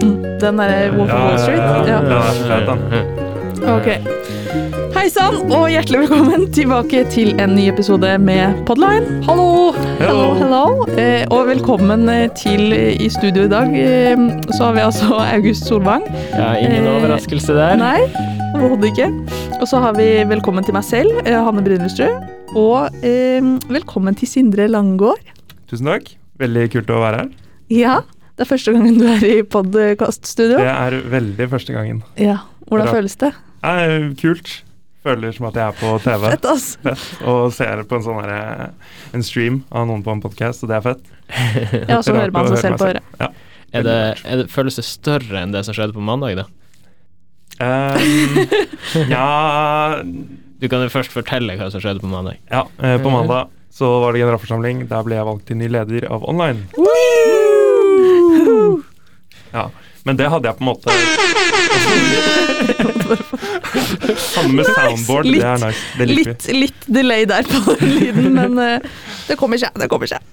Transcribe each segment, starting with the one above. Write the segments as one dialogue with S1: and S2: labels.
S1: Den derre Wolf of Wall Street?
S2: Ja,
S1: Ja.
S2: Den er så fet, den.
S1: Ok. Hei sann, og hjertelig velkommen tilbake til en ny episode med Podline. Hallo!
S2: Hello.
S1: hello. Eh, og velkommen eh, til eh, i studio i dag. Eh, så har vi altså August Solvang.
S3: Ja, ingen
S1: Eh,
S3: overraskelse der.
S1: Nei, overhodet ikke. Og så har vi velkommen til meg selv, eh, Hanne Brynlestrød. Og eh, velkommen til Sindre Langgård.
S2: Tusen takk. Veldig kult å være her.
S1: Ja, det er første gangen du er i podkaststudio.
S2: Det er veldig første gangen.
S1: Ja. Hvordan
S2: Bra.
S1: føles det?
S2: Eh, kult. Føler som at jeg er på TV
S1: Fett, ass.
S2: og ser på en sånn herre En stream av noen på en podkast, og det er fett.
S1: Ja, og så
S2: Rart
S1: hører man seg
S2: å høre
S1: selv
S2: meg
S1: på
S2: selv.
S1: øret.
S2: Ja.
S3: Er det, er det, føles det større enn det som skjedde på mandag, da?
S2: Eh, ja,
S3: Du kan jo først fortelle hva som skjedde på mandag.
S2: ja eh, på mandag så var det generalforsamling. Der ble jeg valgt til ny leder av online. Ja, Men det hadde jeg på en måte Samme med soundboard. Det er nice. Det liker vi.
S1: Litt, litt delay der på lyden, men eh, det kommer seg. Det kommer seg.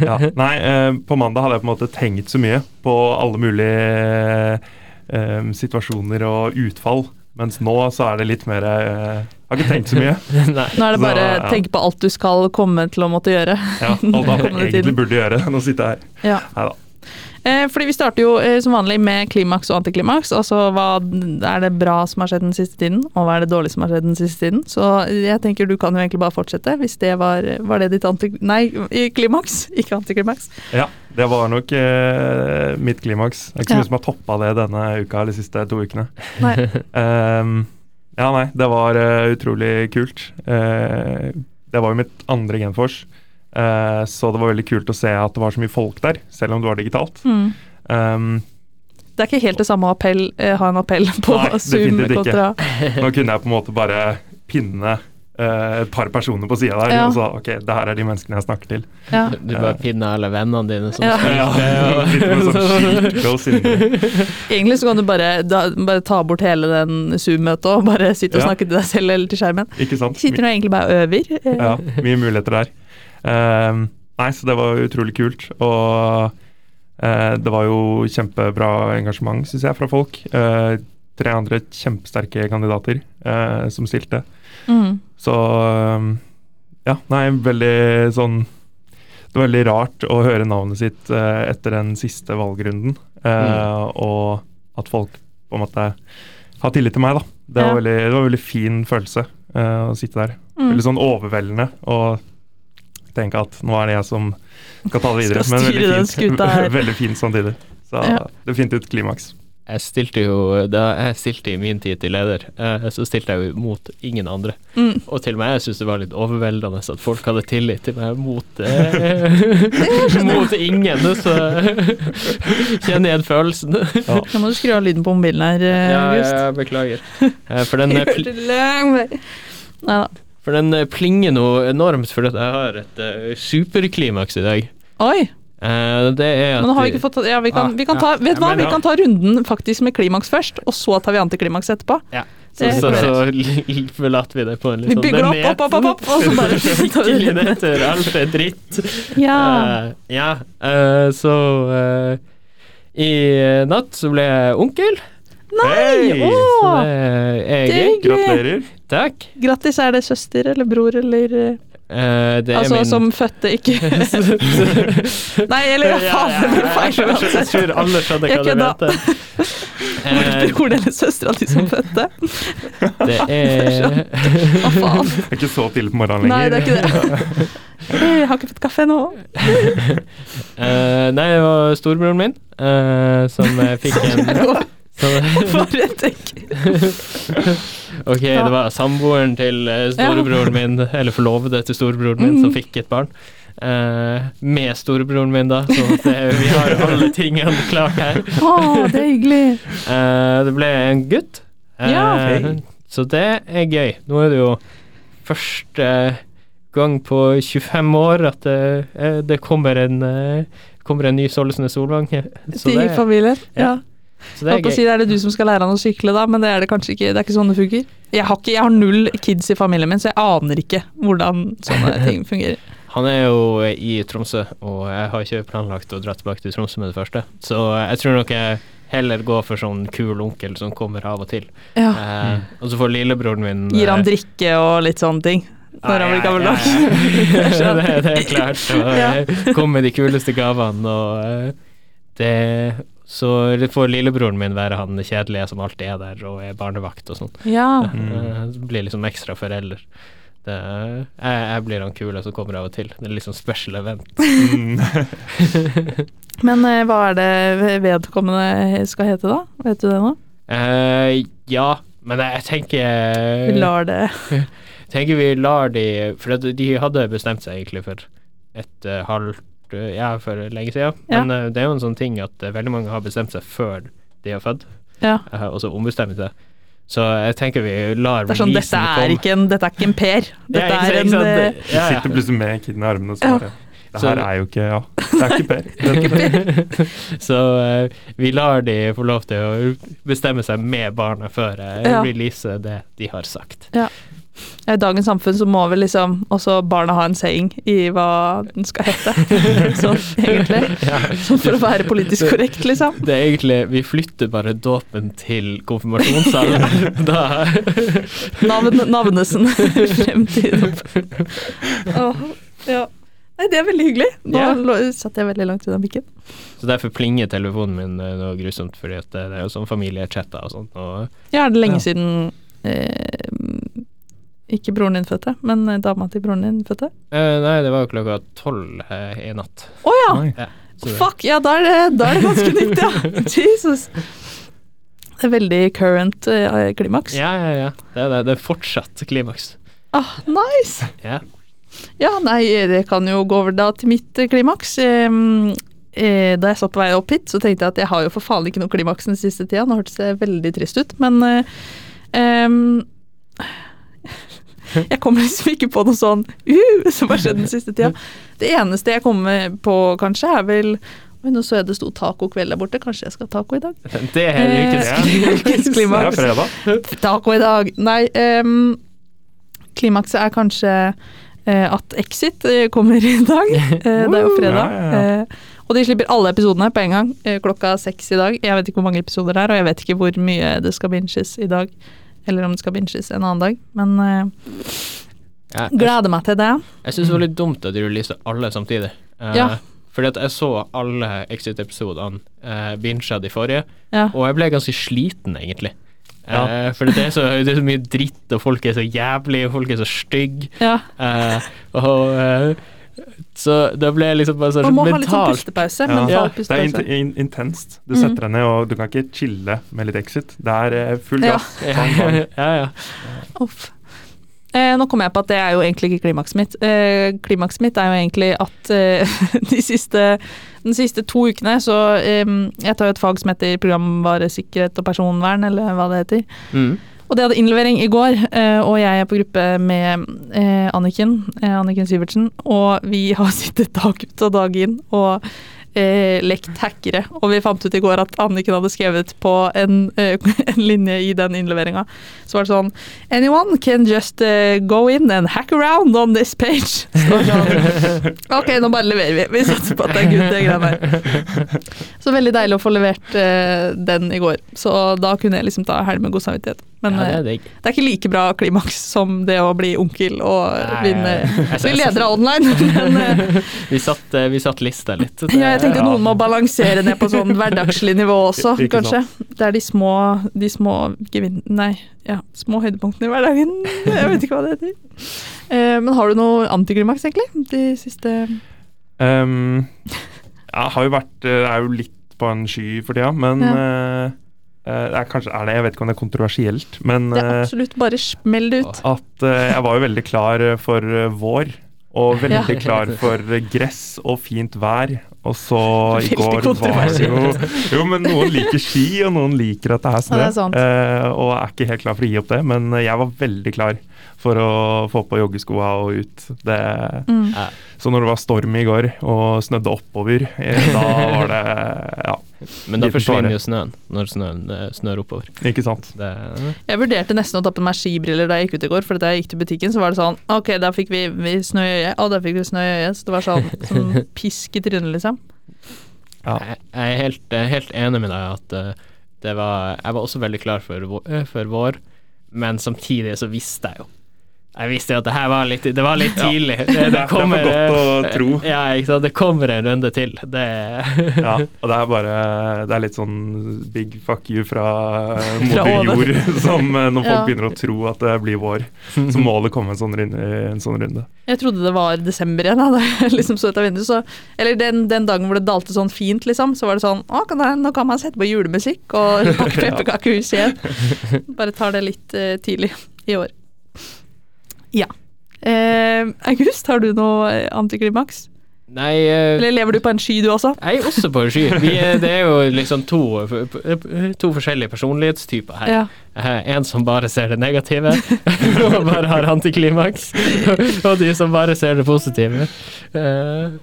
S2: Ja. Nei, eh, på mandag hadde jeg på en måte tenkt så mye på alle mulige eh, situasjoner og utfall. Mens nå så er det litt mer eh, Har ikke tenkt så mye.
S3: Nei.
S1: Nå er det
S2: Så,
S1: bare
S2: ja.
S1: tenk på alt du skal komme til å måtte gjøre.
S2: Ja, alt
S1: Kommer
S2: annet
S1: det
S2: jeg
S1: til.
S2: egentlig burde gjøre enn å sitte her.
S1: Ja.
S2: Neida.
S1: Eh, fordi vi starter jo eh, som vanlig med klimaks og antiklimaks. Altså hva er det bra som har skjedd den siste tiden, og hva er det dårlig som har skjedd den siste tiden. Så jeg tenker du kan jo egentlig bare fortsette, hvis det var, var det ditt anti... Nei, i klimaks, ikke antiklimaks.
S2: Ja, det var nok eh, mitt klimaks. Det er ikke så
S1: Ja.
S2: mye som har toppa det denne uka eller de siste to ukene.
S1: Nei.
S2: Ehm, ja, nei, det var eh, utrolig kult. Eh, det var jo mitt andre Genfors, eh, så det var veldig kult å se at det var så mye folk der, selv om det var digitalt.
S1: Mm.
S2: Ehm,
S1: Det er ikke helt det samme å appell, eh, ha en appell på
S2: Nei,
S1: Zoom
S2: definitivt ikke.
S1: kontra
S2: nå kunne jeg på en måte bare pinne eh, et par personer på sida der,
S1: Ja.
S2: og så ok, det her er de menneskene jeg snakker til.
S1: ja.
S3: Du bare pinner alle vennene dine som
S1: Ja.
S3: skal
S2: Ja,
S3: ja.
S2: Litt med sånn skit, go sinne.
S1: Egentlig så kan du bare, da, bare ta bort hele den Zoom-møtet og bare sitte og
S2: Ja.
S1: snakke til deg selv eller til skjermen.
S2: Ikke sant?
S1: Sitter nå egentlig bare og øver. eh,
S2: Ja, mye muligheter der. Ehm, nei, så det var utrolig kult. Og eh, det var jo kjempebra engasjement, syns jeg, fra folk. Eh, tre andre kjempesterke kandidater eh, som stilte.
S1: Mm.
S2: Så ehm, ja, nei, veldig sånn Det var veldig rart å høre navnet sitt eh, etter den siste valgrunden, eh,
S3: Mm.
S2: og at folk på en måte har tillit til meg, da. Det var,
S1: Ja.
S2: veldig, det var en veldig fin følelse eh, å sitte der.
S1: Mm.
S2: Veldig sånn overveldende å tenke at nå er det jeg som skal ta det videre.
S1: Skal
S2: men
S1: styre
S2: veldig
S1: den
S2: fint,
S1: skuta her.
S2: veldig fint samtidig. Så
S1: Ja.
S2: definitivt klimaks.
S3: Jeg stilte jo Da jeg stilte i min tid til leder, eh, så stilte jeg jo mot ingen andre.
S1: Mm.
S3: Og til og med jeg syns det var litt overveldende at folk hadde tillit til meg mot eh, Mot ingen, så kjenner igjen følelsen.
S1: Nå må du skru av lyden på mobilen her, eh, August.
S3: beklager. For den, eh, pl
S1: Hørte lang vei. Neida.
S3: for den eh, plinger noe enormt, fordi at jeg har et eh, superklimaks i dag.
S1: Oi,
S3: Eh, det er at
S1: men nå har vi ikke fått ta- ja, vi kan,
S3: Ah,
S1: vi kan ta, Vet du
S3: Ja,
S1: hva,
S3: men
S1: vi
S3: ja.
S1: kan ta runden faktisk med klimaks først, og så tar vi antiklimaks etterpå.
S3: Ja. Så,
S1: Det-
S3: så, så li- li- forlater vi det på en litt
S1: Vi
S3: sånn
S1: bygger opp, opp, opp, opp, opp, og så bare tar vi
S3: Skikkelig
S1: det.
S3: nedtur. Alt er dritt.
S1: Ja.
S3: Eh, ja. eh, så eh, i eh, natt så ble jeg onkel.
S1: Nei!
S2: Hei!
S3: Så
S1: Åh!
S3: det er
S1: Det er
S3: gøy.
S1: hyggelig.
S2: Gratulerer.
S3: Takk.
S1: Grattis, er det søster eller bror eller eh,
S3: Eh, det er
S1: Altså
S3: min
S1: som fødte, ikke Nei, eller faen, det ble feil
S3: Jeg, jeg, jeg
S1: uansett.
S3: tror alle skjønner
S1: Jeg
S3: hva det
S1: kødda.
S3: mente. Eh,
S1: Broren eller søstera di som fødte.
S3: det er
S1: Hva faen?
S2: Det er ikke så tidlig på morgenen
S1: Nei,
S2: lenger.
S1: det er ikke det. Jeg har ikke fått kaffe ennå.
S3: Eh, Nei, det var storebroren min eh, som eh, fikk en som,
S1: Bare tenk.
S3: Ok, det var samboeren til eh, storebroren min, eller forlovede til storebroren min,
S1: Mhm.
S3: som fikk et barn. Eh, med storebroren min, da, så at, eh, vi har alle tingene klart her.
S1: Å, det er hyggelig.
S3: Eh, det ble en gutt. Eh,
S1: Ja.
S2: Hei.
S3: Så det er gøy. Nå er det jo første gang på 25 år at det, eh, det kommer en eh, Kommer en ny Sollesnes Solvang. Så
S1: Til
S3: det,
S1: familien. Ja.
S3: så
S1: Jeg
S3: det er
S1: holdt på å
S3: gøy.
S1: si, det er det du som skal lære han å sykle, da, men det er det kanskje ikke. Det er ikke sånn det funker. Jeg har, ikke, jeg har null kids i familien min, så jeg aner ikke hvordan sånne ting fungerer.
S3: Han er jo eh, i Tromsø, og eh, jeg har ikke planlagt å dra tilbake til Tromsø med det første. Så jeg tror nok jeg heller gå for sånn kul onkel som kommer av og til.
S1: Ja.
S3: Eh, og så får lillebroren min
S1: Ah. Gir han
S3: eh,
S1: drikke og litt sånne ting når han
S3: Nei,
S1: blir gammel nok? Jeg
S3: nei, nei. det,
S1: skjønner.
S3: det er klart.
S1: Ja.
S3: Og eh, kom med de kuleste gavene, og eh, det Så får lillebroren min være han kjedelige som alltid er der og er barnevakt og sånn.
S1: Ja.
S3: Eh, Blir liksom ekstra forelder. Det, er- jeg, jeg blir han kule som kommer av og til. Det er litt sånn special event.
S2: Mm.
S1: Men eh, hva er det vedkommende skal hete, da? Vet du det nå?
S3: Eh, ja, men jeg, jeg tenker
S1: Vi lar det
S3: tenker vi lar de For at de hadde bestemt seg egentlig for et eh, halvt eh, Ja, for lenge siden.
S1: Ja.
S3: Men eh, det er jo en sånn ting at eh, veldig mange har bestemt seg før de er født,
S1: Ja.
S3: eh, og så ombestemmer de seg. Så jeg tenker vi lar
S1: Det er sånn, dette
S3: releasen
S1: er ikke en, dette er ikke en Per.
S3: Ja,
S1: Dette
S3: ikke
S1: er en
S3: sant, ikke
S1: eh,
S3: sant?
S2: De sitter plutselig med kiden i armene og så
S1: Ja.
S2: bare Det her
S3: Så-
S2: er jo ikke Ja, det er ikke Per. Det-
S3: så eh, vi lar de få lov til å bestemme seg med barnet før jeg
S1: Ja.
S3: releaser det de har sagt.
S1: I dagens samfunn så må vel liksom også barna ha en saying i hva den skal hete. sånn egentlig. Sånn for å være politisk korrekt, liksom.
S3: Det er egentlig Vi flytter bare dåpen til konfirmasjonssalen. da
S1: Navn, navnesen. Fremtid. Åh, ja. Nei, det er veldig hyggelig. Nå
S3: Ja.
S1: lå- satt jeg veldig langt unna mikken.
S3: Så derfor plinger telefonen min eh, noe grusomt, fordi at det det er jo sånn familiechatter og sånt. Og
S1: Ja, er det lenge
S2: Ja.
S1: siden eh, ikke broren din fødte, men eh, dama til broren din fødte?
S3: Eh, nei, det var jo klokka tolv eh, i natt.
S1: Å ja!
S2: Oi.
S3: Ja, så det-
S1: Fuck, ja, da er det, da er det ganske nytt, ja. Jesus. Det er veldig current eh, klimaks.
S3: Ja, ja, ja. Det er, det. det er fortsatt klimaks.
S1: Ah, nice!
S3: Ja.
S1: Ja, nei, det kan jo gå over da til mitt eh, klimaks. Ehm, eh, da jeg satt på vei opp hit, så tenkte jeg at jeg har jo for faen ikke noe klimaks den siste tida. Nå hørtes det veldig trist ut, men eh, ehm, Jeg kommer liksom ikke på noe sånn uh, som har skjedd den siste tida. Det eneste jeg kommer på, kanskje, er vel Oi, nå så jeg det sto tacokveld der borte. Kanskje jeg skal ha taco i dag?
S3: Det er
S1: Eh, ukens
S2: Det er
S1: klimaks.
S2: fredag.
S1: Taco i dag. Nei, ehm, klimakset er kanskje eh, at Exit eh, kommer i dag. Eh, det er jo fredag.
S2: Ja, ja,
S1: Eh, og de slipper alle episodene på en gang eh, klokka seks i dag. Jeg vet ikke hvor mange episoder det er, og jeg vet ikke hvor mye det skal binges i dag. Eller om det skal binges en annen dag. Men eh,
S3: Ja, jeg
S1: gleder meg til det.
S3: jeg syns det var litt dumt at de releaset alle samtidig. Eh,
S1: Ja.
S3: Fordi at jeg så alle Exit-episodene, uh, bincha de forrige,
S1: Ja.
S3: og jeg ble ganske sliten, egentlig.
S2: Ja.
S3: Eh, for det er, så, det er så mye dritt, og folk er så jævlige, og folk er så stygge.
S1: ja.
S3: Eh, og, eh, så det ble liksom bare sånn
S1: Man må ha litt sånn
S3: mentalt
S1: pustepause.
S2: Ja.
S1: mental
S2: Det
S3: Ja,
S2: er
S1: pustepause.
S2: in in intenst.
S1: Mhm.
S2: Du setter deg ned, og du kan ikke chille med litt Exit. Det er eh, full
S1: Ja.
S2: gass.
S3: ja,
S2: Bang, bang.
S3: ja, ja.
S1: Uff. Eh, nå kommer jeg på at det er jo egentlig ikke klimakset mitt. Eh, klimakset mitt er jo egentlig at eh, de siste, den siste to ukene så eh, Jeg tar jo et fag som heter programvaresikkerhet og personvern, eller hva det heter.
S3: Mm.
S1: Og de hadde innlevering i går, eh, og jeg er på gruppe med eh, Anniken, eh, Anniken Syvertsen, og vi har sittet dag ut og dag inn og eh, lekt hackere. Og vi fant ut i går at Anniken hadde skrevet på en, eh, en linje i den innleveringa. Så var det sånn Anyone can just eh, go in and hack around on this page. Så det var sånn, ok, nå bare leverer vi. Vi satser på at det er gutt, det greiene der. Så veldig deilig å få levert eh, den i går. Så da kunne jeg liksom ta helg med god samvittighet. Men
S3: ja, det
S1: eh,
S3: er digg.
S1: det er ikke like bra klimaks som det å bli onkel og
S3: Nei,
S1: vinne
S3: jeg-
S1: bli
S3: jeg-
S1: leder av online. Men eh,
S3: Vi satt, eh, vi satt lista litt. Det-
S1: ja, jeg tenkte
S2: Ja.
S1: noen må balansere ned på sånn hverdagslig nivå også,
S2: Ikke
S1: kanskje. Det er de små, de små gevin... Nei, ja, små høydepunktene i hverdagen. Jeg vet ikke hva det heter. Eh, Men har du noe antiklimaks, egentlig? De siste
S2: Um, jeg har jo vært eh, er jo litt på en sky for tida, men eh, eh, det er kanskje er det, Jeg vet ikke om det er kontroversielt, men
S1: Det er
S2: eh,
S1: absolutt bare smell det ut.
S2: at eh, jeg var jo veldig klar for eh, vår. Og
S1: Ja.
S2: veldig klar for eh, gress og fint vær. Og så i
S1: Veldig
S2: går var det jo Jo, men noen liker ski, og noen liker at det er
S1: Ja,
S2: snø.
S1: det er sant.
S2: eh, og er ikke helt klar for å gi opp det, men eh, jeg var veldig klar for å få på joggeskoa og ut. Det,
S1: Mm.
S3: Ja.
S2: Så når det var storm i går og snødde oppover, eh, da var det Ja,
S3: Men da
S2: Liten
S3: forsvinner
S2: fare.
S3: jo snøen, når snøen eh, snør oppover.
S2: ikke sant.
S3: Det,
S1: Jeg vurderte nesten å ta på meg skibriller da jeg gikk ut i går, for da jeg gikk til butikken, så var det sånn Ok, da fikk vi, vi snø i øyet, og da fikk vi snø i øyet. Så det var sånn, sånn pisk i trynet, liksom.
S2: Ja.
S3: Jeg, jeg er helt, eh, helt enig med deg at eh, det var Jeg var også veldig klar for, vå- eh, for vår, men samtidig så visste jeg jo Jeg visste jo at det her var litt, det var litt tidlig. Det,
S2: Det er for godt
S3: eh,
S2: å tro.
S3: Ja, ikke sant. Det kommer en runde til. Det
S2: Ja, og det er bare Det er litt sånn big fuck you fra eh,
S1: Fra
S2: moder
S1: oven.
S2: jord, som eh, når folk
S1: Ja.
S2: begynner å tro at det blir vår, så må det komme en sånn runde. En sånn runde.
S1: Jeg trodde det var desember igjen, da, da jeg liksom så ut av vinduet. Så, eller den, den dagen hvor det dalte sånn fint, liksom, så var det sånn Å, kan jeg, nå kan man sette på julemusikk og pakke pepperkakehuset igjen. Bare tar det litt eh, tidlig i år. Ja. Eh, August, har du noe eh, antiklimaks?
S3: Nei eh,
S1: Eller lever du på en sky, du også?
S3: Jeg er også på en sky. Vi er, det er jo liksom to, to forskjellige personlighetstyper her.
S1: Ja.
S3: Eh, En som bare ser det negative og bare har antiklimaks, og de som bare ser det positive. Eh,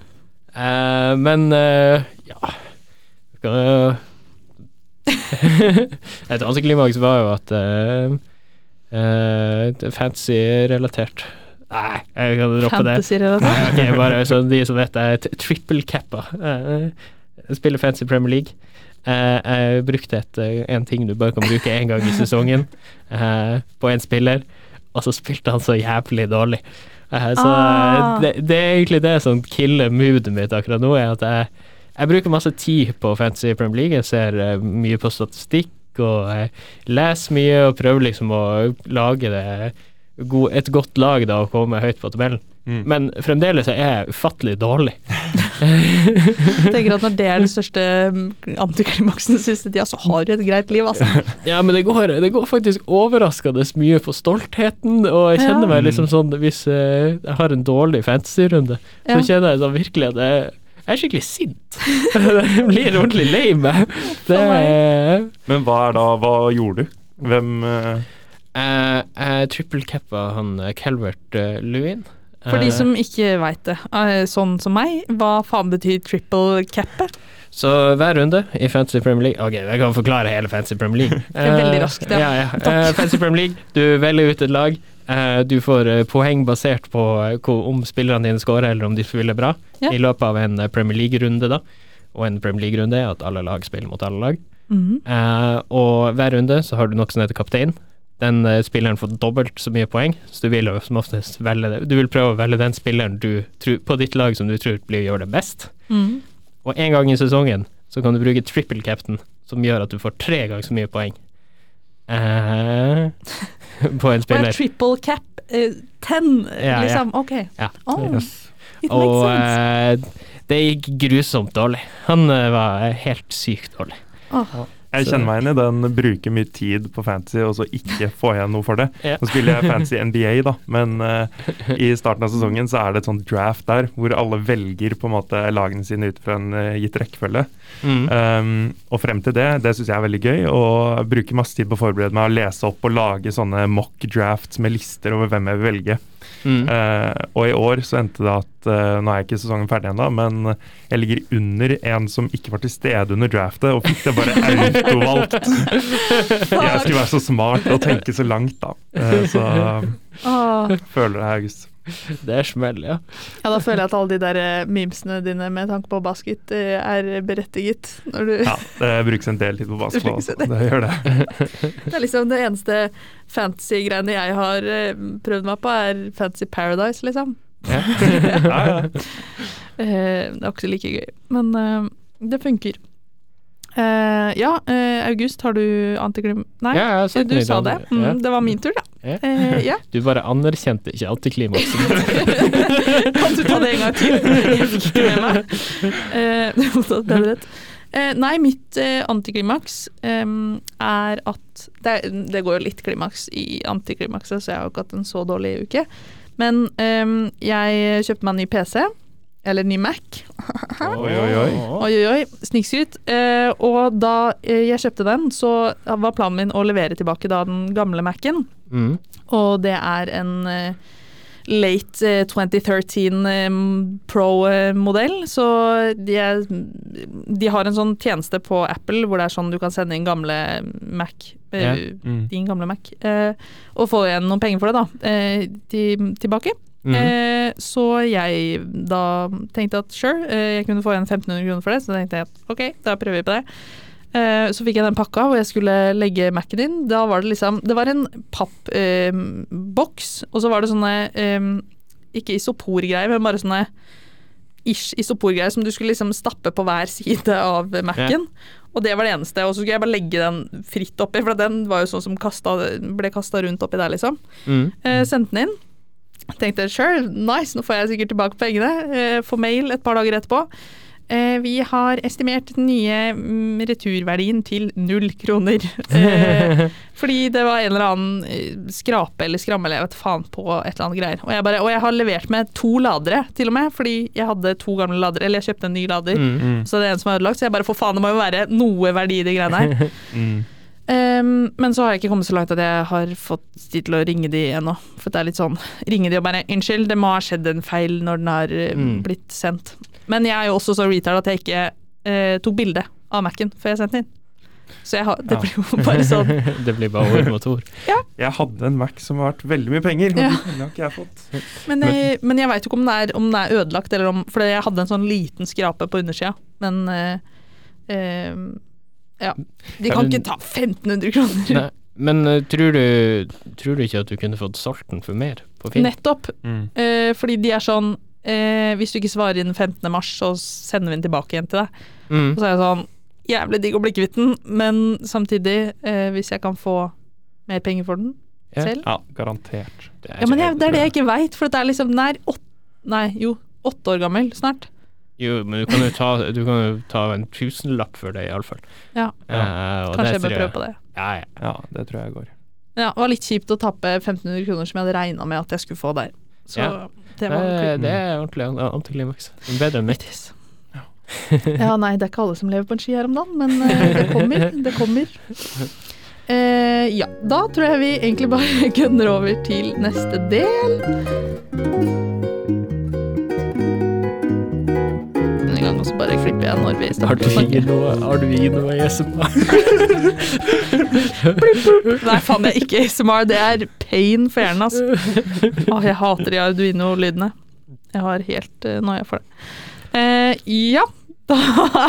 S3: eh, men eh, ja Skal- Et antiklimaks var jo at eh, eh, det er fancy-relatert Nei, jeg kan droppe det.
S1: Fantasy-relatert.
S3: Nei, ok, bare så de som vet det, jeg er t- triple cappa. Eh, jeg spiller fancy Premier League. Eh, jeg brukte et, eh, en ting du bare kan bruke én gang i sesongen, eh, på én spiller, og så spilte han så jævlig dårlig. Eh, så
S1: Ah.
S3: det, det er egentlig det som killer moodet mitt akkurat nå, er at jeg, jeg bruker masse tid på fancy Premier League. Jeg ser eh, mye på statistikk og eh, leser mye og prøver liksom å lage det god, et godt lag da og komme høyt på tabellen.
S2: Mm.
S3: Men fremdeles er jeg ufattelig dårlig.
S1: Tenker at når det er det største mm, antiklimaksen den siste tida, så har du et greit liv, altså.
S3: Ja, men det går, det går faktisk overraskende mye på stoltheten, og jeg kjenner
S1: Ja.
S3: meg liksom sånn Hvis eh, jeg har en dårlig fantasy-runde, så
S1: Ja.
S3: kjenner jeg sånn virkelig at jeg, jeg er skikkelig sint. jeg blir ordentlig lei meg. Det er
S2: Men hva er da Hva gjorde du? Hvem eh,
S3: uh, Trippel-cappa han eh, Calvert eh, Lewin.
S1: For de
S3: Eh,
S1: som ikke veit det, eh, sånn som meg, hva faen betyr triple cappe?
S3: Så hver runde i Fantasy Premier League Ok, jeg kan forklare hele Fantasy Premier League.
S1: er veldig raskt, ja.
S3: Eh, ja, ja.
S1: Takk.
S3: Eh, Fantasy Premier League, du velger ut et lag. eh, du får eh, poeng basert på eh, hvor- om spillerne dine scorer, eller om de spiller bra,
S1: Ja.
S3: i løpet av en eh, Premier League-runde, da. Og en Premier League-runde er at alle lag spiller mot alle lag.
S1: Mhm.
S3: Eh, og hver runde så har du noe som heter kaptein. Den eh, spilleren får dobbelt så mye poeng, så du vil jo som oftest velge det. Du vil prøve å velge den spilleren du tror, på ditt lag som du tror blir å gjøre det best.
S1: Mhm.
S3: Og en gang i sesongen så kan du bruke triple captain, som gjør at du får tre ganger så mye poeng eh, på en
S1: Hva er
S3: spiller.
S1: triple cap? Eh, ten,
S3: ja.
S1: liksom? Ok.
S3: Ja.
S1: Oh, it
S3: Og
S1: makes sense.
S3: eh, det gikk grusomt dårlig. Han eh, var helt sykt dårlig.
S2: Jeg
S3: Så-
S2: kjenner meg igjen i den bruker mye tid på fantasy og så ikke få igjen noe for det.
S3: Ja.
S2: Nå spiller jeg fantasy NBA, da, men eh, i starten av sesongen så er det et sånt draft der hvor alle velger på en måte lagene sine ut fra en eh, gitt rekkefølge.
S3: Mm.
S2: Um, og frem til det, det syns jeg er veldig gøy. Og jeg bruker masse tid på å forberede meg, å lese opp og lage sånne mock drafts med lister over hvem jeg vil velge.
S3: Mm.
S2: Eh, og i år så endte det at eh, Nå er ikke sesongen ferdig ennå, men jeg ligger under en som ikke var til stede under draftet, og fikk det bare autovalgt.
S3: eh,
S2: Jeg skulle være så smart og tenke så langt, da. Eh, så
S1: Åh.
S2: føler det, August.
S3: Det er smell, ja.
S1: Ja, da føler jeg at alle de der eh, memesene dine med tanke på basket eh, er berettiget. Når du,
S2: Ja, det brukes en del tid på basketball.
S1: Det
S2: også.
S1: brukes en del.
S2: Det gjør det.
S1: Det er liksom det eneste fantasy-greiene jeg har eh, prøvd meg på, er Fantasy Paradise, liksom.
S3: ja.
S2: Ja, ja.
S1: Eh, det er ikke like gøy, men eh, det funker. Eh, ja, eh, August, har du antiklim... Nei,
S3: Ja, jeg har sett
S1: du
S3: den i
S1: sa det.
S3: dag.
S1: Mm,
S3: Ja.
S1: Det var min tur, da.
S3: Ja.
S1: Eh, ja.
S3: Du bare anerkjente ikke antiklimaksen.
S1: Kan du ta det en gang til? Jeg fikk ikke med meg. Eh, det var da bedre rett. Eh, nei, mitt eh, antiklimaks em, er at det, er, det går jo litt klimaks i antiklimakset, så jeg har jo ikke hatt en så dårlig uke. Men em, jeg kjøpte meg en ny PC, eller ny Mac,
S2: Oi, oi, oi.
S1: Oi, oi, oi. Snikskryt. Eh, og da eh, jeg kjøpte den, så var planen min å levere tilbake da den gamle Mac-en.
S3: Mm.
S1: Og det er en eh, late eh, 2013 eh, Pro-modell. Så de, er, de har en sånn tjeneste på Apple hvor det er sånn du kan sende inn gamle Mac. eh,
S3: Ja.
S2: Mm.
S1: Din gamle Mac. eh, og få igjen noen penger for det, da. eh, til- tilbake.
S3: Mhm.
S1: Eh, så jeg da tenkte at sure, eh, jeg kunne få igjen 1500 kroner for det, så tenkte jeg at ok, da prøver vi på det. Eh, så fikk jeg den pakka hvor jeg skulle legge Mac-en inn. Da var det liksom Det var en pappboks, eh, boks, og så var det sånne eh, Ikke isoporgreier, men bare sånne ish isoporgreier som du skulle liksom stappe på hver side av Mac-en. Og det var det eneste. Og så skulle jeg bare legge den fritt oppi, for den var jo sånn som kastet, ble kasta rundt oppi der, liksom.
S3: Mm.
S1: Eh, sendte den inn. Tenkte sure, nice, nå får jeg sikkert tilbake pengene. Eh, får mail et par dager etterpå. Eh, vi har estimert den nye mm, returverdien til null kroner. Eh, fordi det var en eller annen eh, skrape eller skramme eller jeg vet faen på et eller annet greier. Og jeg, bare, og jeg har levert med to ladere, til og med, fordi jeg hadde to gamle ladere. Eller jeg kjøpte en ny lader,
S3: Mm.
S2: Mm,
S1: så det er en som er ødelagt. Så jeg bare for faen, det må jo være noe verdi i de greiene her.
S2: mm.
S1: Ehm, men så har jeg ikke kommet så langt at jeg har fått tid til å ringe de ennå. For det er litt sånn Ringe de og bare 'Unnskyld, det må ha skjedd en feil når den har eh,
S3: Mm.
S1: blitt sendt'. Men jeg er jo også så retard at jeg ikke eh, tok bilde av Mac-en før jeg sendte den inn. Så jeg har, det
S2: Ja.
S1: blir jo bare sånn.
S3: det blir bare ord mot ord.
S2: Jeg hadde en Mac som var verdt veldig mye penger, og
S1: Ja.
S2: de pengene har ikke jeg fått.
S1: Men, jeg- men jeg veit jo ikke om den, er, om den er ødelagt, eller om For jeg hadde en sånn liten skrape på undersida, men eh, eh, Ja. De
S3: Ja,
S1: kan
S3: men-
S1: ikke ta 1500 kroner.
S3: Nei. Men eh, tror, du, tror du ikke at du kunne fått solgt den for mer på Finn?
S1: Nettopp.
S2: Mm.
S1: Eh, fordi de er sånn eh, Hvis du ikke svarer innen 15. mars, så sender vi den tilbake igjen til deg.
S3: Mm.
S1: Og så er jeg sånn Jævlig digg å bli kvitt den, men samtidig, eh, hvis jeg kan få mer penger for den
S3: Ja.
S1: selv
S2: Ja, garantert.
S1: Ja, men jeg, Det er det jeg ikke veit, for det er liksom Den er åtte Nei, jo, åtte år gammel snart.
S3: Jo, men du kan jo ta, du kan jo ta en tusenlapp for det, iallfall.
S1: Ja,
S3: Eh,
S1: Kanskje jeg bør prøve på det.
S3: Ja, ja.
S2: Ja, det tror jeg går.
S1: Men Ja, det var litt kjipt å tappe 1500 kroner som jeg hadde regna med at jeg skulle få der. Så
S3: Ja. Eh,
S1: det var kult.
S3: Det, det er ordentlig an- antiklimaks. Bedre enn mitt.
S1: Ja, nei, det er ikke alle som lever på en ski her om dagen, men eh, det kommer. Det kommer. Eh, ja, da tror jeg vi egentlig bare gønner over til neste del. Denne gangen så bare klipper jeg når vi
S3: Har
S1: starter
S3: du
S1: å snakke.
S3: noe, har du noe ASMR?
S1: Nei, faen, det er ikke ASMR. Det er pain for hjernen, altså. Åh, jeg hater de Arduino-lydene. Jeg har helt uh, noia for det. Eh, ja, da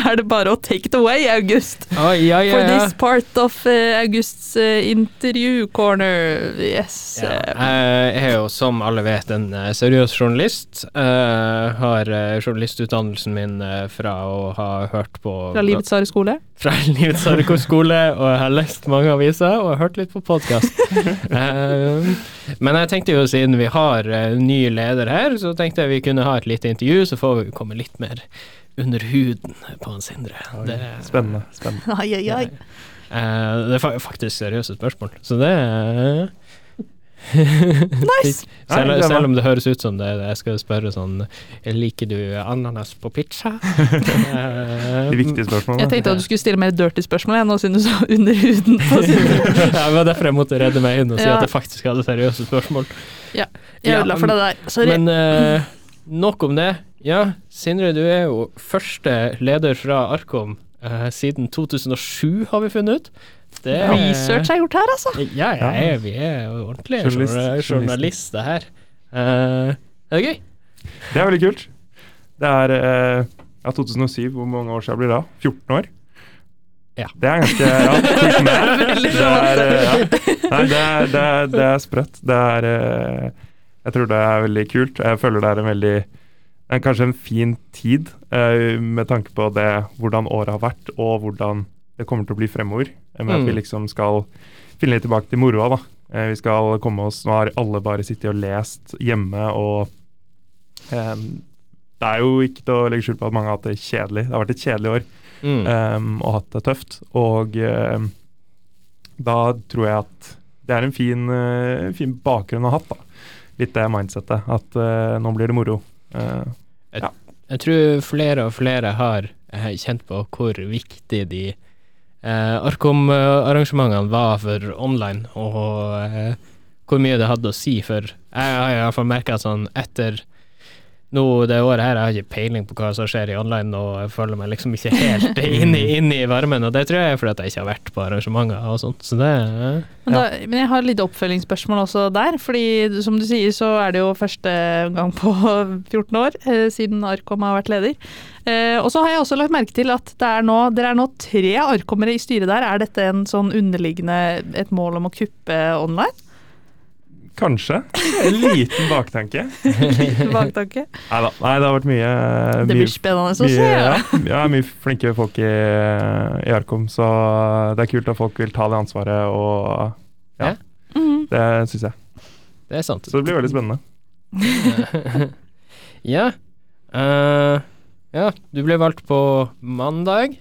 S1: er det bare å take it away, August.
S3: Ah, ja, ja,
S1: For
S3: ja.
S1: this part of eh, Augusts eh, interview corner. Yes.
S3: Ja.
S1: eh,
S3: Jeg er jo, som alle vet, en eh, seriøs journalist. Eh, har eh, journalistutdannelsen min eh, fra å ha hørt på
S1: fra Livets harde skole.
S3: fra Livets Arko skole, og jeg har lest mange aviser og hørt litt på podkast. men jeg tenkte jo siden vi har eh, ny leder her, så tenkte jeg vi kunne ha et lite intervju, så får vi komme litt mer under huden på han Sindre. Det,
S2: Spennende. spennende.
S1: Ai, ai, ai.
S3: Eh, det er fa- faktisk seriøse spørsmål, så det er
S1: Nice.
S3: Selv,
S2: Nei, det var-
S3: selv om det høres ut som det, jeg skal spørre sånn Liker du ananas på pizza? Eh,
S2: De viktige
S1: Jeg
S2: spørsmålene.
S1: tenkte at du skulle stille mer dirty spørsmål, jeg, nå siden du sa under huden. på siden.
S3: ja, det var derfor jeg måtte redde meg inn og si
S1: Ja.
S3: at jeg faktisk hadde seriøse spørsmål.
S1: Jeg ødela for det der. Sorry.
S3: Men eh, nok om det. Ja, Sindre, du er jo første leder fra Arkom eh, siden 2007, har vi funnet ut. Det er-
S1: Research er gjort her, altså.
S3: Ja, ja,
S2: Ja.
S3: vi er jo ordentlige
S2: Journalist-
S3: journal- journalister her. Eh, er det gøy?
S2: Det er veldig kult. Det er eh, ja, 2007. Hvor mange år siden blir det da? 14 år?
S3: Ja.
S2: Det er ganske ja, 14 år.
S1: Veldig
S2: Det er, eh, ja. Nei, det er, det er, det er sprøtt. Det er eh, Jeg tror det er veldig kult. Jeg føler det er en veldig en, Kanskje en fin tid, eh, med tanke på det, hvordan året har vært, og hvordan det kommer til å bli fremover. eh, Med
S3: Mm.
S2: at vi liksom skal finne litt tilbake til moroa, da. Eh, vi skal komme oss Nå har alle bare sittet og lest hjemme, og eh, det er jo ikke til å legge skjul på at mange har hatt det kjedelig. Det har vært et kjedelig år
S3: Mm.
S2: um, og hatt det tøft. Og um, da tror jeg at det er en fin, uh, en fin bakgrunn å ha hatt, da. Litt det mindsettet. At uh, nå blir det moro. Uh,
S3: Jeg tror flere og flere har eh, kjent på hvor viktig de eh, Arkom-arrangementene var for online, og eh, hvor mye det hadde å si for Jeg har i hvert fall merka sånn etter nå det året her, jeg har ikke peiling på hva som skjer i online, og jeg føler meg liksom ikke helt inne i- inne i varmen, og det tror jeg er fordi at jeg ikke har vært på arrangementer og sånt, så det eh,
S1: Men, da, men jeg har et lite oppfølgingsspørsmål også der. fordi som du sier, så er det jo første gang på 14 år eh, siden Arkom har vært leder. Eh, og så har jeg også lagt merke til at det er nå, dere er nå tre Arkommere i styret der. Er dette en sånn underliggende et mål om å kuppe online?
S2: Kanskje. En liten baktanke.
S1: Baktanke.
S2: Nei da. Nei, det har vært mye eh,
S1: Det
S2: mye
S1: blir spennende å se.
S2: mye,
S1: ja.
S2: ja, ja, mye flinke folk i, eh, i Arkom, så det er kult at folk vil ta det ansvaret, og ja,
S3: Ja.
S1: Mhm.
S2: det syns jeg.
S3: det er sant.
S2: Så det blir veldig spennende.
S3: ja. Eh, ja, du ble valgt på mandag.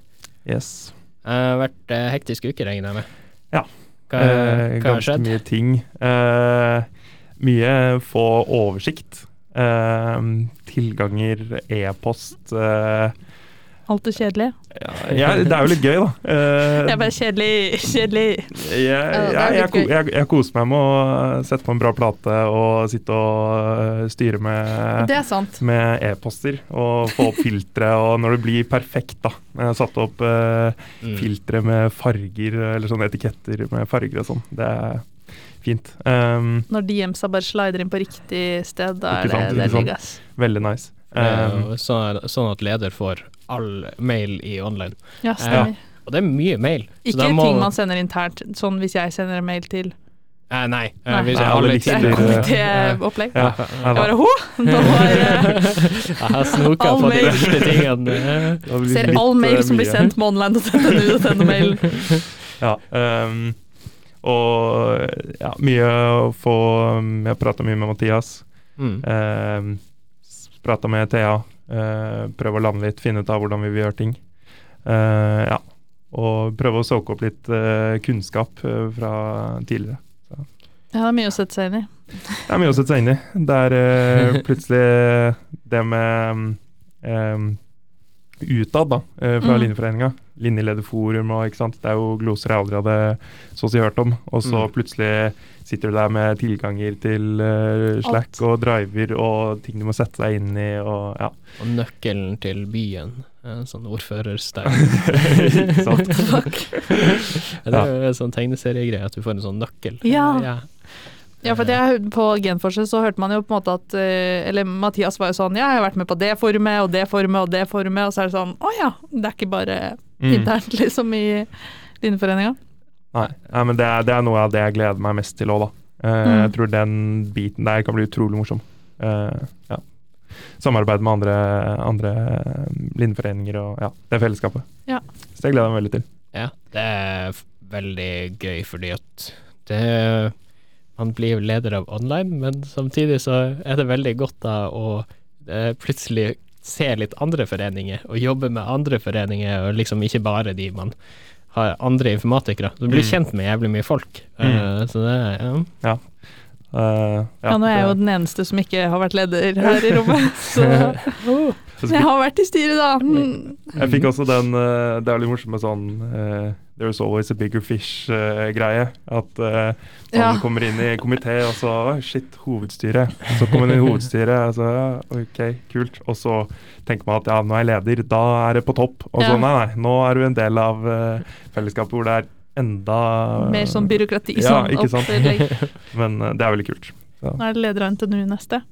S2: Yes.
S3: Uh, vært eh, hektisk uke, regner jeg med.
S2: Ja.
S3: Hva,
S2: Eh,
S3: hva har
S2: ganske
S3: skjedd?
S2: mye ting. Eh, mye få oversikt. Eh, tilganger, e-post eh,
S1: Alt det kjedelige.
S2: ja, Det er jo litt gøy, da. Eh,
S1: Jeg bare kjedelig, kjedelig.
S2: Jeg, jeg,
S1: det er
S2: jeg,
S1: litt
S2: ko-
S1: gøy.
S2: jeg, jeg koser meg med å sette på en bra plate og sitte og øh, styre med
S1: Det er sant.
S2: med e-poster og få opp filtre, og når det blir perfekt, da. Jeg har satt opp øh,
S3: Mm.
S2: filtre med farger, eller sånne etiketter med farger og sånn. Det er fint. Um,
S1: Når DM-sa bare slider inn på riktig sted, da er
S2: Ikke
S1: det
S2: sant, ikke sant.
S1: veldig gass.
S2: veldig nice.
S3: Det er
S2: Um,
S3: jo sånn, sånn at leder får all mail i online.
S1: Ja, stemmer.
S3: Og det er mye mail. så
S1: Ikke
S3: da må-
S1: ting man sender internt, sånn hvis jeg sender en mail til
S3: Eh, nei. eh,
S1: Nei.
S3: Hvis
S2: Nei,
S3: jeg
S2: alle
S3: alle
S2: lister,
S3: tider- Eh,
S1: komitéopplegg.
S2: ja, ja,
S1: Jeg
S2: da.
S1: bare ho! Nå var, eh,
S3: Jeg har snoka
S1: All
S3: på de
S1: mail.
S3: verste tingene.
S2: Det har blitt
S1: ser
S2: litt,
S1: all mail
S2: øh,
S1: som blir
S2: mye.
S1: sendt med online.nu.no-mailen.
S2: Ja. ehm, og ja, mye å få Jeg prata mye med Mathias.
S3: Mm.
S2: Eh, Prata med Thea. Eh, prøve å lande litt, finne ut av hvordan vi vil gjøre ting. Eh, ja. Og prøve å soake opp litt eh, kunnskap eh, fra tidligere.
S1: Ja, det er mye å sette seg inn i.
S2: Det er mye å sette seg inn i. Det er eh, plutselig det med um, utad, da, eh, fra
S1: Mm.
S2: Linjeforeninga. Linjelederforum og ikke sant. Det er jo gloser jeg aldri hadde så å si hørt om. Og så
S3: Mm.
S2: plutselig sitter du der med tilganger til eh, Slack og driver og ting du må sette deg inn i og ja.
S3: Og nøkkelen til byen. eh, Sånn ordførerstein.
S2: Ikke sant?
S3: Det er jo en sånn tegneseriegreie at du får en sånn nøkkel.
S1: Ja.
S3: ja.
S1: Ja, for at jeg, På Genforset så hørte man jo på en måte at eh, Eller Mathias var jo sånn Ja, jeg har vært med på det forumet og det forumet og det forumet, og så er det sånn Å ja, det er ikke bare
S2: Mm.
S1: internt, liksom, i Linjeforeninga.
S2: Nei, nei, men det er, det er noe av det jeg gleder meg mest til òg, da. Eh,
S1: Mm.
S2: Jeg tror den biten der kan bli utrolig morsom. Eh, ja. Samarbeid med andre, andre linjeforeninger og ja, det fellesskapet.
S1: Ja.
S2: Så det gleder jeg meg veldig til.
S3: Ja, det er f- veldig gøy fordi at det Man blir jo leder av online, men samtidig så er det veldig godt da å eh, plutselig se litt andre foreninger, og jobbe med andre foreninger, og liksom ikke bare de man har andre informatikere. Du blir
S2: Mm.
S3: kjent med jævlig mye folk.
S2: Mm.
S3: eh, så det er ja.
S2: Eh,
S1: Ja, nå er jeg jo
S2: det-
S1: den eneste som ikke har vært leder her i rommet, så oh,
S2: Så
S1: men Jeg har vært i styret, da. Mm.
S2: Jeg fikk også den eh, Det er litt morsomt med sånn eh, There's always a bigger fish-greie. At eh, man
S1: Ja.
S2: kommer inn i komité, og så «Oi, Shit, hovedstyret. Så kommer man inn i hovedstyret, og så ja, OK, kult. Og så tenker man at ja, nå er jeg leder, da er det på topp. Og så
S1: Ja.
S2: nei, nei, nå er du en del av eh, fellesskapet hvor det er enda
S1: Mer sånn byråkrati.
S2: Ja,
S1: sånn
S2: ikke sant.
S1: opplegg.
S2: Men eh, det er veldig kult.
S1: Nå er det leder av NTNU neste.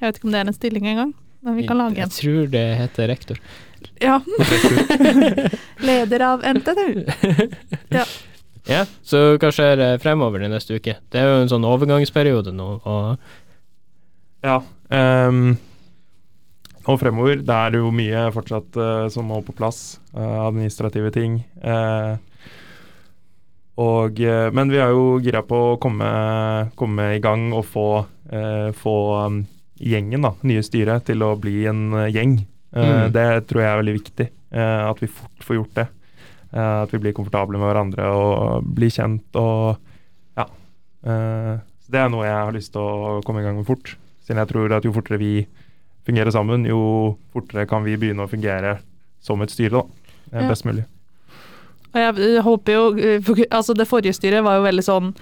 S1: Jeg vet ikke om det er en stilling engang, men vi kan lage
S3: Jeg
S1: en.
S3: tror det heter rektor.
S1: Ja. leder av NTNU.
S3: Ja, så hva skjer eh, fremover den neste uke? Det er jo en sånn overgangsperiode nå, og
S2: Ja. ehm, og fremover, det er jo mye fortsatt eh, som må på plass. eh, administrative ting. eh, og, eh, men vi er jo gira på å komme, komme i gang og få, eh, få um, gjengen, da, nye styret, til å bli en eh, gjeng. Eh,
S3: Mm.
S2: Det tror jeg er veldig viktig. eh, at vi fort får gjort det. Eh, at vi blir komfortable med hverandre og blir kjent og ja. Eh, så det er noe jeg har lyst til å komme i gang med fort. Siden jeg tror at jo fortere vi fungerer sammen, jo fortere kan vi begynne å fungere som et styre, da. Eh,
S1: Ja.
S2: Best mulig.
S1: Og jeg eh, håper jo eh, for- Altså, det forrige styret var jo veldig sånn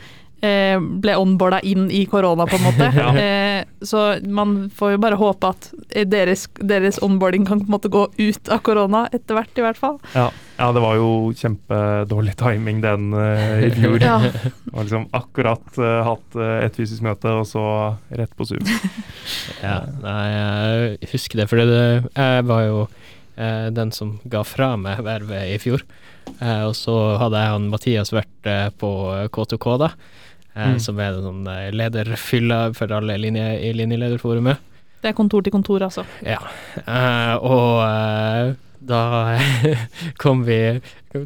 S1: eh, ble onboarda inn i korona, på en måte.
S2: Ja.
S1: eh, så man får jo bare håpe at eh, deres, deres onboarding kan på en måte gå ut av korona etter hvert, i hvert fall.
S2: Ja. ja, det var jo kjempedårlig timing den eh, i fjor.
S1: Ja.
S2: Det var liksom akkurat eh, hatt eh, et fysisk møte, og så rett på Zoom.
S3: Ja, nei, jeg husker det, for det, jeg var jo eh, den som ga fra meg vervet i fjor. Eh, og så hadde jeg og Mathias vært eh, på K2K, da, eh,
S2: Mm.
S3: som er en sånn eh, lederfylla for alle linje, i linjelederforumet.
S1: Det er kontor til kontor, altså.
S3: Ja, eh, og eh, da kom vi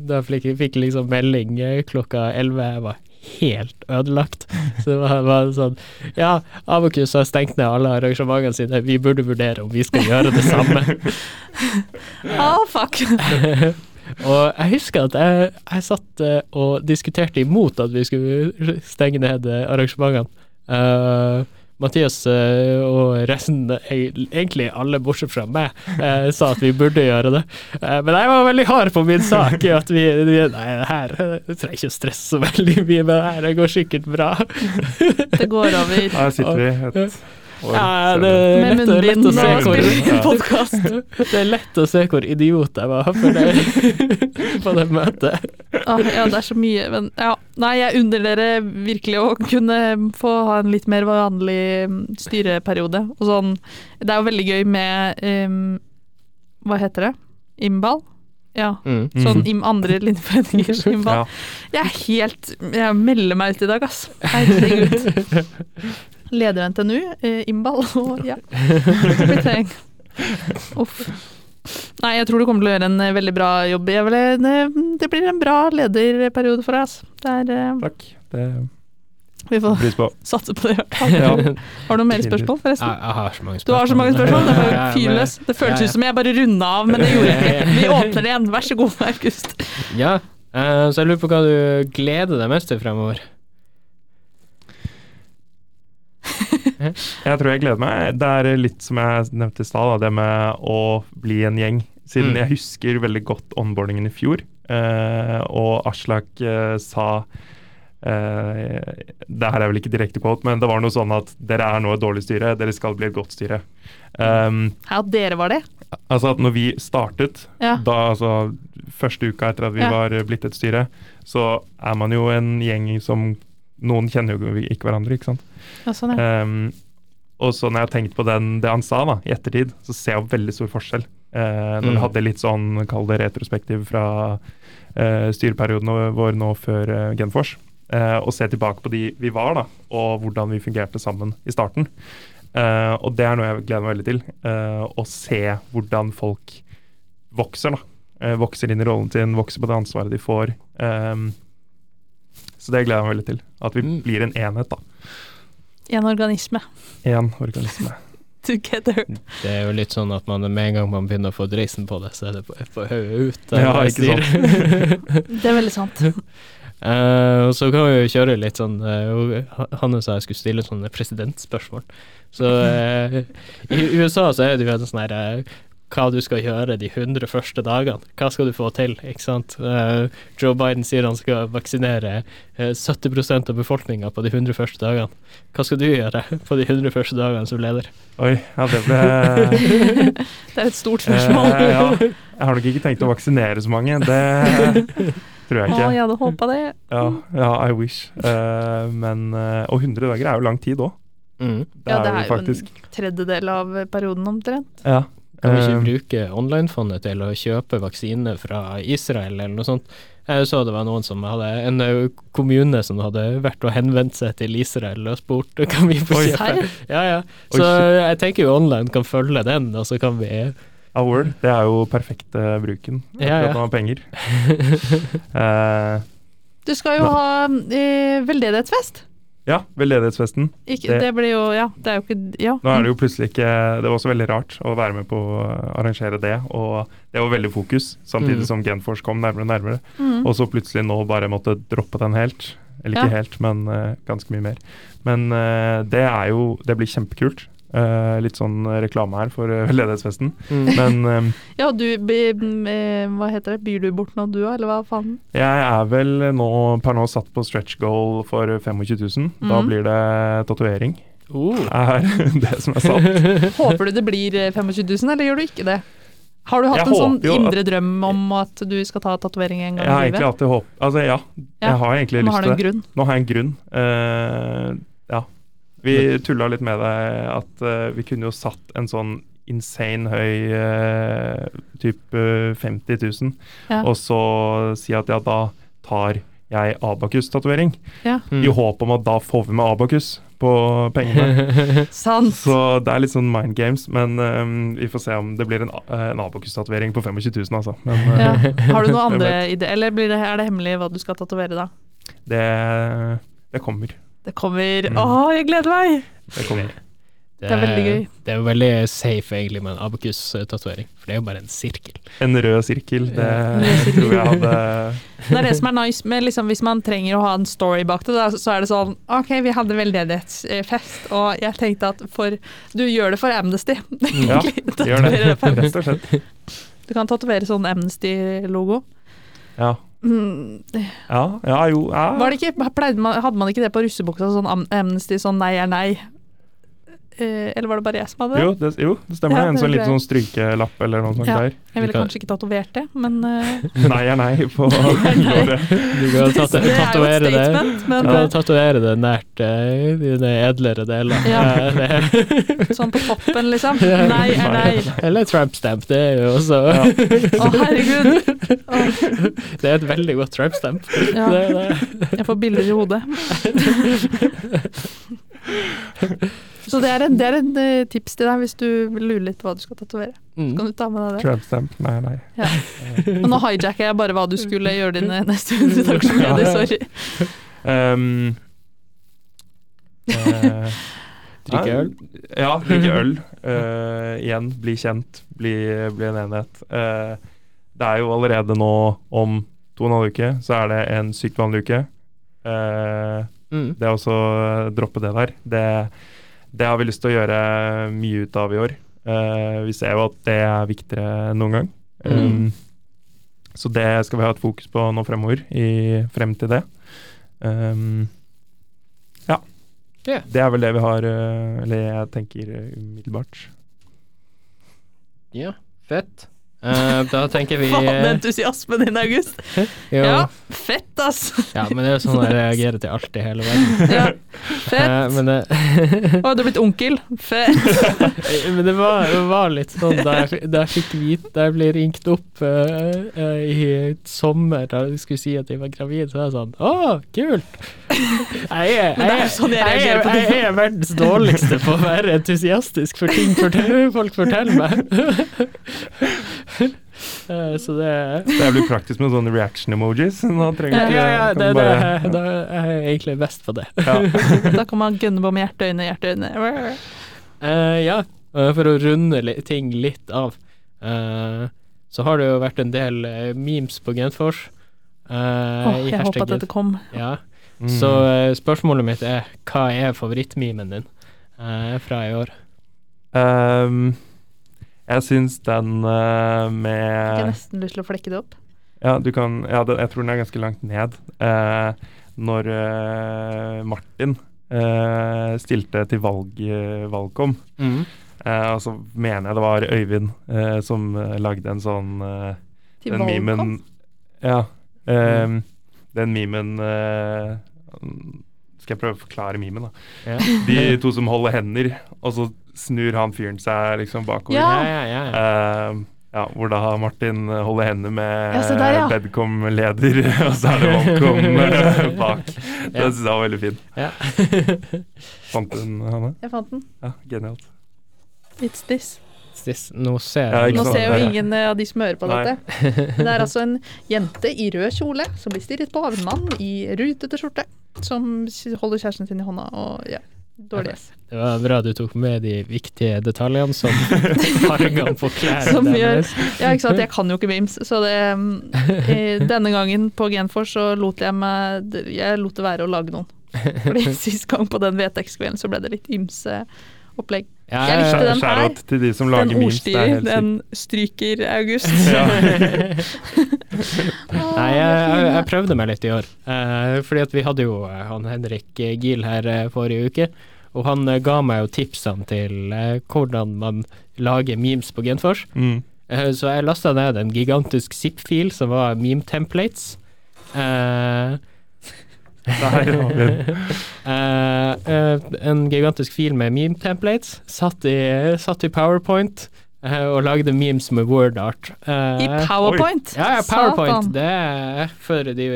S3: Da fikk jeg fikk jeg liksom melding eh, klokka elleve. Jeg var helt ødelagt. Så det var, var sånn Ja, Abokus har stengt ned alle arrangementene sine. Vi burde vurdere om vi skal gjøre det samme.
S1: Ah, fuck!
S3: og jeg husker at jeg, jeg satt eh, og diskuterte imot at vi skulle stenge ned eh, arrangementene. Eh, Mathias eh, og resten, eh, egentlig alle bortsett fra meg, eh, sa at vi burde gjøre det. Eh, men jeg var veldig hard på min sak. i At vi, vi Nei, det her eh, jeg trenger ikke å stresse så veldig mye med det her, det går sikkert bra.
S1: Det går over.
S2: Her sitter vi et år
S3: Ja, det
S2: senere.
S3: er
S1: Med
S3: lett, å- lett
S1: munnbind
S3: å
S1: og
S3: se hvor
S1: spiller vi
S2: Ja.
S1: podkast.
S3: Det er lett å se hvor idiot jeg var for det, på det møtet.
S1: Ah, ja, det er så mye, men ja. Nei, jeg unner dere virkelig å kunne få ha en litt mer vanlig mm, styreperiode. Og sånn. Det er jo veldig gøy med em, Hva heter det? Imbal? Ja. Sånn
S2: Mhm.
S1: im andre linjeforeningers
S2: Ja.
S1: imbal. Jeg er helt Jeg melder meg ut i dag, ass. Herregud. Leder av NTNU, eh, imbal og ja. Rekruttering. Uff. Nei, jeg tror du kommer til å gjøre en eh, veldig bra jobb. Jeg vil, eh, det blir en bra lederperiode for deg. ass. Det er, eh,
S2: Takk. Det
S1: vi får
S2: pris på.
S1: satse på det. i hvert fall.
S2: Ja.
S1: Har du noen mer spørsmål, forresten?
S3: Jeg, jeg har så mange
S1: Du
S3: spørsmål.
S1: har så mange spørsmål, det er bare fyr
S3: men-
S1: løs. Det føltes
S3: Ja, ja.
S1: ut som jeg bare runda av, men det gjorde jeg ikke. Vi åpner det igjen, vær så god, August.
S3: Ja, eh, så jeg lurer på hva du gleder deg mest til fremover.
S2: Jeg tror jeg gleder meg. Det er litt som jeg nevnte i stad, da, det med å bli en gjeng. Siden
S3: Mm.
S2: jeg husker veldig godt onboardingen i fjor, eh, og Aslak eh, sa eh, Det her er vel ikke direkte quote, men det var noe sånn at dere er nå et dårlig styre, dere skal bli et godt styre. Um,
S1: Ja, dere var det?
S2: altså at når vi startet,
S1: Ja.
S2: da, altså første uka etter at vi
S1: Ja.
S2: var blitt et styre, så er man jo en gjeng som Noen kjenner jo ikke hverandre, ikke sant.
S1: Ja, sånn, ja.
S2: Um, og så når jeg har tenkt på den, det han sa da, i ettertid, så ser jeg veldig stor forskjell. Eh, når
S3: Mm.
S2: vi hadde litt sånn, kall det retrospektiv fra eh, styreperioden vår nå før eh, Genfors, eh, og se tilbake på de vi var da, og hvordan vi fungerte sammen i starten. Eh, og det er noe jeg gleder meg veldig til. eh, å se hvordan folk vokser, da. Eh, vokser inn i rollen sin, vokser på det ansvaret de får. Um, så det gleder jeg meg veldig til. At vi
S3: Mm.
S2: blir en enhet, da.
S1: En organisme.
S2: Én organisme.
S1: Together.
S3: Det er jo litt sånn at man, med en gang man begynner å få dreisen på det, så er det på, på hodet ut.
S2: Ja,
S3: eh,
S2: ikke sant.
S3: styr.
S1: Det er veldig sant.
S3: Eh, og så kan vi jo kjøre litt sånn eh, Hanne sa jeg skulle stille sånne presidentspørsmål. Så eh, i USA så er det jo en sånn her eh, hva du skal gjøre de 100 første dagene. Hva skal du få til, ikke sant. Eh, Joe Biden sier han skal vaksinere eh, 70 av befolkninga på de 100 første dagene. Hva skal du gjøre på de 100 første dagene som leder?
S2: Oi, ja, det ble
S1: Det er et stort spørsmål.
S2: Eh, ja. Jeg har nok ikke tenkt å vaksinere så mange. Det tror jeg
S1: Å,
S2: ikke.
S1: jeg hadde håpa det.
S2: Ja, ja I wish. Eh, men, eh, og 100 dager er jo lang tid òg. Det,
S1: Ja,
S2: er
S1: det
S2: jo
S1: er jo
S2: faktisk.
S1: en tredjedel av perioden omtrent.
S2: Ja.
S3: Kan vi ikke
S2: Eh,
S3: bruke online-fondet til å kjøpe vaksine fra Israel eller noe sånt? Jeg så det var noen som hadde en ø, kommune som hadde vært og henvendt seg til Israel og spurt kan vi få
S2: Oi.
S3: kjøpe.
S1: Serr?
S3: Ja, ja.
S2: Oi,
S3: Så jeg tenker jo online kan følge den, og så kan vi
S2: ja, Word, det er jo perfekte bruken.
S3: Ja, ja.
S2: Akkurat når man har penger. Eh,
S1: Du skal jo
S2: Nei.
S1: ha eh, veldedighetsfest.
S2: ja, veldedighetsfesten.
S1: Ikke,
S2: Det-
S1: det blir jo Ja, det er jo ikke Ja.
S2: Nå er det jo plutselig ikke Det var også veldig rart å være med på å arrangere det, og det var veldig fokus, samtidig
S3: Mm.
S2: som Genfors kom nærmere og nærmere.
S1: Mm.
S2: Og så plutselig nå bare måtte droppe den helt. Eller ikke
S1: Ja.
S2: helt, men eh, ganske mye mer. Men eh, det er jo Det blir kjempekult. Eh, litt sånn reklame her for eh, ledighetsfesten.
S3: Mm.
S2: Men eh,
S1: Ja, du be, m- eh, Hva heter det? Byr du bort noe du òg, eller hva faen?
S2: jeg er vel nå, per nå satt på stretch goal for 25 000. Da
S1: Mhm.
S2: blir det tatovering.
S3: Oh.
S2: Er det som er satt.
S1: Håper du det blir eh, 25 000, eller gjør du ikke det? Har du hatt
S2: Jeg
S1: en sånn
S2: håper jo at-
S1: indre drøm om at du skal ta tatovering en gang
S2: Jeg
S1: i
S2: har egentlig
S1: livet?
S2: alltid håp... Altså, ja.
S1: Ja,
S2: Jeg har egentlig
S1: Nå
S2: lyst
S1: har
S2: til
S1: du
S2: det.
S1: en grunn.
S2: Nå har jeg en grunn. Eh, ja. Vi tulla litt med det at eh, vi kunne jo satt en sånn insane høy uh, type 50 000,
S1: Ja.
S2: og så si at ja, da tar jeg Abakus-tatovering.
S1: Ja.
S3: Mm.
S2: I håp om at da får vi med Abakus på pengene.
S1: Sant.
S2: Så det er litt sånn mind games, men eh, vi får se om det blir en, A- en Abakus-tatovering på 25 000, altså. Men eh,
S1: Ja. Har du noen
S2: Jeg
S1: andre ideer, eller blir det, er det hemmelig hva du skal tatovere da?
S2: det, det kommer.
S1: Det kommer
S2: Mm.
S1: Å, jeg gleder meg!
S2: Det kommer.
S1: Det er veldig gøy.
S3: Det er jo veldig safe egentlig med en abakus-tatovering, for det er jo bare en sirkel.
S2: En rød sirkel, det
S1: Rød sirkel.
S2: tror jeg hadde
S1: Det er det som er nice med liksom, hvis man trenger å ha en story bak det, da, så er det sånn Ok, vi hadde veldedighetsfest, og jeg tenkte at for Du gjør det for Amnesty,
S2: Ja,
S1: egentlig.
S2: Gjør det,
S1: Tatoverer for-
S2: rett og slett.
S1: Du kan tatovere sånn Amnesty-logo.
S2: Ja,
S1: Mm,
S2: ja, ja jo ja.
S1: Var det ikke, pleide man, Hadde man ikke det på russebuksa, sånn Am- Amnesty, sånn nei er nei? Eh, eller var det bare jeg som hadde det?
S2: Jo, det, jo, det stemmer.
S1: Ja,
S2: det. En
S1: det
S2: sånn liten
S1: tror jeg.
S2: sånn strykelapp eller noe sånt
S1: Ja.
S2: der.
S1: Jeg ville
S3: Du kan-
S1: kanskje ikke tatovert det, men eh,
S2: Nei er nei på låret.
S3: Du
S1: det,
S3: kan tat-
S1: det er jo et
S3: tatovere det.
S1: statement.
S3: Du
S1: Men
S3: kan
S1: eh,
S3: tatovere det nært eh, dine edlere deler.
S1: Ja.
S3: Eh, det-
S1: sånn på toppen, liksom. Nei er nei.
S3: Eller tramp stamp, det er jo også
S1: Å, herregud. Å,
S3: Det er et veldig godt tramp stamp.
S1: ja.
S3: Det, er det.
S1: Jeg får bilder i hodet. Så det er, en, det er en eh, tips til deg hvis du lurer litt på hva du skal tatovere.
S3: Mm.
S1: Kan du ta med deg det?
S2: Tramp stamp, nei nei.
S1: Og nå hijacka jeg bare hva du skulle gjøre dine neste redaksjoner. Sorry.
S2: Um, eh,
S3: Drikke
S2: nei,
S3: øl.
S2: Ja, drikke øl. Eh, igjen, bli kjent, bli, bli en enhet. Eh, det er jo allerede nå om to og en halv uke, så er det en sykt vanlig uke. Eh,
S3: Mm.
S2: Det er også eh, droppe det der. Det, det har vi lyst til å gjøre mye ut av i år. Eh, vi ser jo at det er viktigere enn noen gang.
S3: Mm.
S2: Um, så det skal vi ha et fokus på nå fremover, i, frem til det. Um, ja.
S3: Ja.
S2: Det er vel det vi har, eh, eller jeg tenker eh, umiddelbart.
S3: Ja, fett. Eh, da tenker vi
S1: Faen, entusiasmen din, August.
S3: jo.
S1: Ja,
S3: Ja.
S1: fett, ass.
S3: men det er jo sånn jeg reagerer til alt i hele verden.
S1: Ja, fett.
S3: Eh, men det
S1: Å, du er blitt onkel. Fett.
S3: Eh, Men det var, det var litt sånn da jeg, fi- da jeg fikk vite Da jeg ble ringt opp eh, eh, i sommer da jeg skulle si at jeg var gravid, så var jeg sånn Å, kult! Jeg er,
S1: Men det er
S3: jeg, er-
S1: sånn jeg
S3: jeg,
S1: reagerer
S3: er,
S1: på ting.
S3: jeg er verdens dårligste på å være entusiastisk for ting fortel- folk forteller meg. Eh, så det
S2: Det blir praktisk med sånne reaction emojis. Nå trenger
S3: Ja,
S2: du ikke-
S3: ja, ja
S2: kan du
S3: det, det,
S2: bare-
S3: da er jeg egentlig best på det.
S1: Da kan man gønne på med hjerteøyne, hjerteøyne.
S3: Eh, ja, eh, for å runde li ting litt av, eh, så har det jo vært en del eh, memes på Genfors. eh,
S1: Åh,
S3: i
S1: jeg håper
S3: hashtag
S1: at dette kom.
S3: Ja.
S2: Mm.
S3: Så eh, spørsmålet mitt er hva er favorittmemen din eh, fra i år?
S2: Um, jeg syns den eh, med
S1: Jeg har nesten lyst til å flekke det opp.
S2: Ja, du kan, ja det, jeg tror den er ganske langt ned. Eh, når eh, Martin eh, stilte til valg, eh, Valgkom, eh, og så mener jeg det var Øyvind eh, som eh, lagde en sånn eh,
S1: Til
S2: Den memen
S1: valgkamp.
S2: Ja. eh,
S3: Mm.
S2: Den memen eh, Skal jeg prøve å forklare memen, da?
S3: Ja.
S2: De to som holder hender, og så snur han fyren seg liksom bakover.
S1: Ja.
S3: ja, ja, ja. ja.
S2: Eh, ja, hvor da Martin holder henne med
S1: Ja, se der, ja.
S2: Bedcom-leder, og så er det Welcome eh, bak. Det
S3: Ja.
S2: synes jeg var veldig fint.
S3: ja.
S2: Fant du den, Hanne?
S1: Jeg fant den.
S2: Ja, genialt.
S1: It's this.
S3: Stis- Nå ser
S2: Ja,
S3: jeg
S2: ikke
S1: Nå
S2: sant?
S1: ser jo
S2: Der, ja.
S1: ingen eh, av de som hører på
S2: Nei.
S1: dette. Men det er altså en jente i rød kjole som blir stirret på av en mann i rutete skjorte, som s- holder kjæresten sin i hånda og ja, dårlig S.
S3: Det var bra du tok med de viktige detaljene som fargene på
S1: Som
S3: klærne
S1: gjør-
S3: deres.
S1: Ja, ikke sant, jeg kan jo ikke memes, så det mm, eh, Denne gangen på Genfors så lot jeg meg d- Jeg lot det være å lage noen. Fordi sist gang på den VTX-kvelden så ble det litt ymse opplegg.
S3: Ja,
S1: Jeg likte den her.
S2: Skjæråt til de som
S1: Den
S2: lager memes. Det er
S1: ordstyrer,
S2: helt sykt.
S1: den stryker August.
S3: Nei, jeg, jeg, jeg prøvde meg litt i år. Eh, fordi at vi hadde jo eh, han Henrik eh, Giel her eh, forrige uke, og han eh, ga meg jo tipsene til eh, hvordan man lager memes på Genfors.
S2: Mm.
S3: Eh, så jeg lasta ned en gigantisk zip-fil som var meme templates. Eh,
S2: Der har vi den.
S3: Eh, eh, en gigantisk fil med meme templates, satt i, satt i PowerPoint eh, og lagde memes med Eh, wordart.
S1: I powerpoint!
S3: Ja, ja, PowerPoint.
S1: Satan.
S3: Det er, for de, det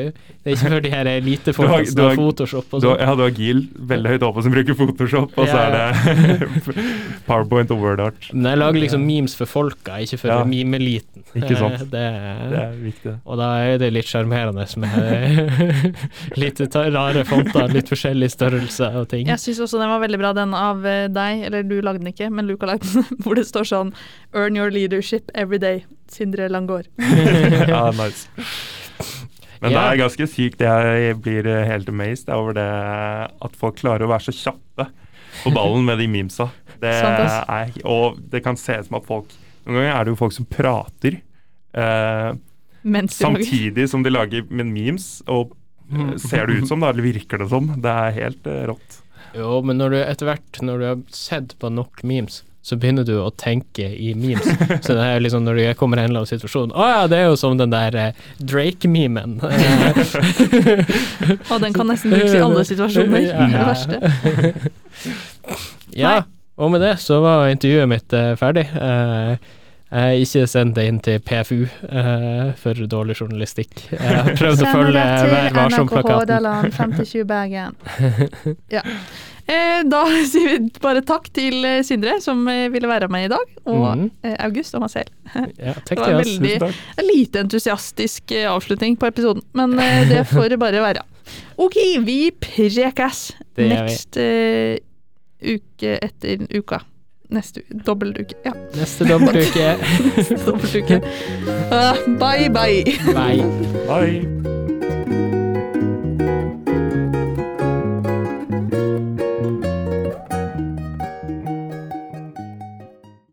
S3: er ikke for de her elitefolka
S2: Du har-
S3: som
S2: du
S3: har
S2: har-
S3: Photoshop og
S2: Du, har-
S3: sånn.
S2: ja, du har Gil veldig høyt oppe som bruker Photoshop, og så
S3: Ja,
S2: er det Powerpoint og WordArt.
S3: Men jeg lager liksom memes for folka, ikke for
S2: Ja.
S3: memeeliten.
S2: Ikke sant.
S3: Eh, det er-
S2: Det er viktig. det.
S3: Og da er det litt sjarmerende med litt ta- rare fonter, litt forskjellig størrelse og ting.
S1: Jeg syns også den var veldig bra, den av eh, deg, eller du lagde den ikke, men Luca lagde den, hvor det står sånn Earn your leadership every day, Sindre Langgaard.
S2: ja, nice. Men
S3: Ja.
S2: det er ganske sykt. Jeg blir eh, helt amazed over det at folk klarer å være så kjappe på ballen med de memesa. Det
S1: Sant, ass.
S2: er, og det kan se ut som at folk Noen ganger er det jo folk som prater eh,
S1: Mens de lager-
S2: samtidig som de lager med memes, og eh, ser det ut som, da, eller virker det som. Det er helt eh, rått.
S3: Jo, men når du etter hvert, når du har sett på nok memes, så begynner du å tenke i memes. Så det er liksom når du kommer i en eller annen situasjon Å ja, det er jo som den der eh, Drake-memen.
S1: Og den kan nesten brukes i alle situasjoner. Det er det verste.
S3: ja, og med det så var intervjuet mitt eh, ferdig. Eh, jeg har ikke sendt det inn til PFU eh, for dårlig journalistikk. Jeg har prøvd å følge Vær varsom-plakaten.
S1: Hordaland 57 Bergen. Ja. Eh, da sier vi bare takk til eh, Sindre, som eh, ville være med i dag, og
S3: Mhm.
S1: eh, August og meg selv.
S3: Ja, takk
S1: var
S3: til oss.
S1: veldig-
S2: Tusen takk.
S1: En lite entusiastisk eh, avslutning på episoden, men eh, det får det bare være. Ok, vi prekes
S3: Det gjør vi.
S1: next eh, uke etter uka. Neste uke. Dobbeltuke. Ja,
S3: Neste dommeruke.
S1: dobbeltuke. Uh, Ah, bye, bye.
S3: Bye.
S2: Bye.